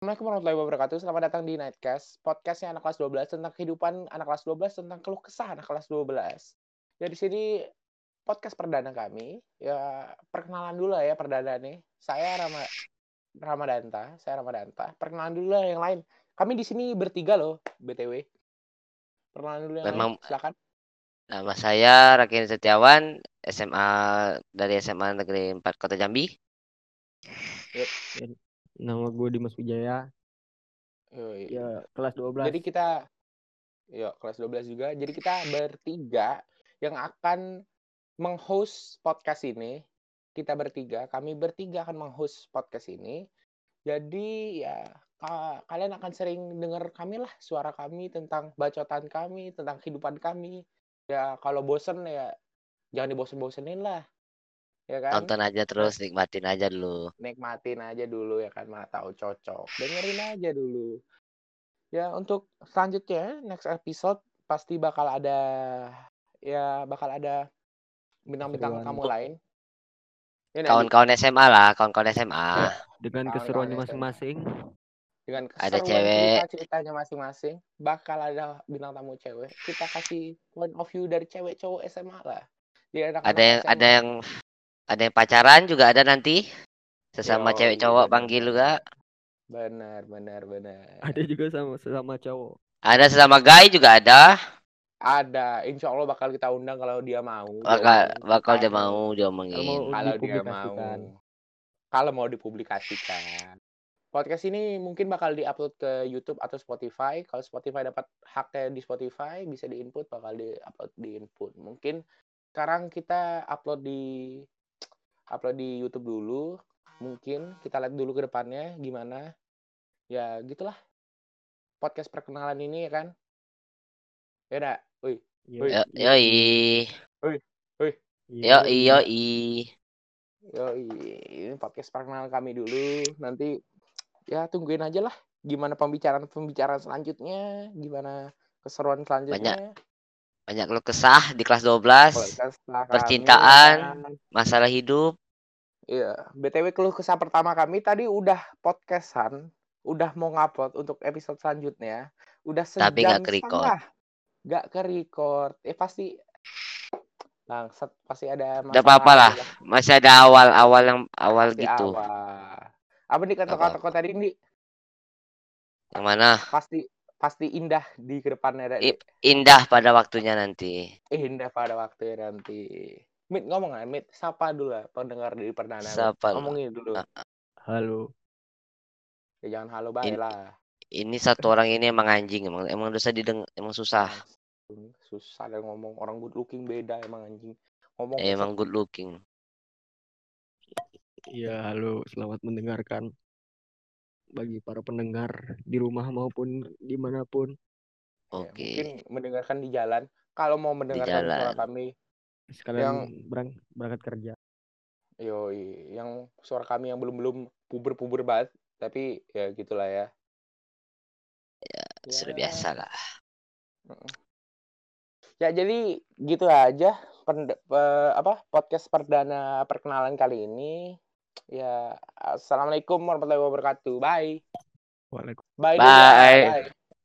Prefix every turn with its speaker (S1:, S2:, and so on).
S1: Assalamualaikum warahmatullahi wabarakatuh. Selamat datang di Nightcast, podcastnya anak kelas 12 tentang kehidupan anak kelas 12, tentang keluh kesah anak kelas 12. Ya di sini podcast perdana kami. Ya perkenalan dulu lah ya perdana nih. Saya Rama Ramadanta, saya Ramadanta. Perkenalan dulu lah yang lain. Kami di sini bertiga loh, BTW. Perkenalan dulu yang
S2: Nama-
S1: lain. Silakan.
S2: Nama saya Rakin Setiawan, SMA dari SMA Negeri 4 Kota Jambi.
S3: Nama gue Dimas Wijaya,
S1: Yoi.
S3: ya kelas 12.
S1: Jadi kita yuk kelas 12 juga. Jadi kita bertiga yang akan menghost podcast ini. Kita bertiga, kami bertiga akan menghost podcast ini. Jadi ya ka- kalian akan sering dengar kami lah suara kami tentang bacotan kami, tentang kehidupan kami. Ya kalau bosen ya jangan dibosen-bosenin lah. Ya kan? iya.
S2: Tonton aja terus, nikmatin aja dulu.
S1: nikmatin aja dulu ya kan mana tahu cocok dengerin aja dulu ya untuk selanjutnya next episode pasti bakal ada ya bakal ada bintang-bintang
S3: Seruan.
S1: tamu lain ya, Nadi?
S2: Kawan-kawan SMA lah, kawan-kawan SMA.
S3: Dengan
S1: Kawan-kawan
S3: keseruannya
S1: SMA.
S3: masing-masing,
S1: dengan
S2: ada
S1: keseruan
S2: cewek.
S1: cerita-ceritanya masing-masing bakal ada bintang tamu cewek kita kasih point of view dari cewek cowok SMA lah Jadi anak-anak
S2: Ada yang
S1: SMA.
S2: ada yang ada yang pacaran juga ada nanti. Sesama
S1: Yoi,
S2: cewek cowok
S1: bener.
S2: panggil juga.
S1: benar benar benar
S3: ada juga sama sama cowok.
S2: Ada sesama guy juga ada.
S1: ada insya Allah bakal kita undang kalau dia mau
S2: Bakal bakal dia
S1: iya, Ada.
S2: mau
S3: Kalau
S2: diomongin.
S3: mau
S1: Iya, kalau dia mau
S3: dipublikasikan.
S1: kalau mau dipublikasikan podcast ini mungkin bakal diupload ke YouTube atau Spotify kalau Spotify dapat haknya di Spotify bisa diinput bakal diupload di input mungkin sekarang kita upload di upload di YouTube dulu mungkin kita lihat dulu ke depannya gimana ya gitulah podcast perkenalan ini ya kan ya udah Wih,
S2: Yo, yoi.
S3: Iya.
S2: Yoi, yoi.
S1: Yoi, ini podcast perkenalan kami dulu. Nanti ya tungguin aja lah gimana pembicaraan-pembicaraan selanjutnya, gimana keseruan selanjutnya.
S2: Banyak lu kesah di kelas 12,
S1: Kualitas setelah kami,
S2: Percintaan.
S1: kan.
S2: masalah hidup.
S1: Iya, BTW keluh kesah pertama kami tadi udah podcastan, udah mau ngupload untuk episode selanjutnya. Udah sejam
S2: Tapi nggak ke-record.
S1: setengah. Nggak ke record. Eh pasti bangsat pasti ada masalah.
S2: apa-apa lah, Masih ada awal-awal yang awal
S1: di
S2: gitu.
S1: awal. Apa nih kata-kata kau tadi ini?
S2: Yang mana?
S1: pasti pasti indah di kedepannya Dek.
S2: Ip. Indah pada waktunya nanti.
S1: Eh, indah pada waktu nanti Mit ngomong kan Mit sapa dulu lah pendengar dari perdana Mit.
S2: Sapa lah.
S1: ngomongin dulu
S2: Ah.
S3: Halo.
S1: ya, jangan halo bye
S2: In-
S1: lah
S2: Ini satu orang ini emang anjing, emang emang dosa dideng, emang susah.
S1: susah deh ngomong orang good looking beda emang Ya, anjing ngomong
S2: Emang good looking.
S3: Iya, halo. Selamat mendengarkan. Bagi para pendengar di rumah maupun dimanapun.
S1: Ya,
S2: Oke.
S1: mungkin mendengarkan di jalan kalau mau mendengarkan
S2: jalan.
S1: suara kami
S3: Sekalian berang- berangkat kerja.
S1: yoi yang suara kami yang belum belum puber puber banget tapi ya gitulah ya Ya,
S2: Sudah biasa lah.
S1: Ya jadi gitu aja pend- pe- apa podcast perdana perkenalan kali ini. Ya assalamualaikum warahmatullahi wabarakatuh. Bye.
S3: Waalaikumsalam.
S1: Bye.
S2: Bye.
S1: Bye.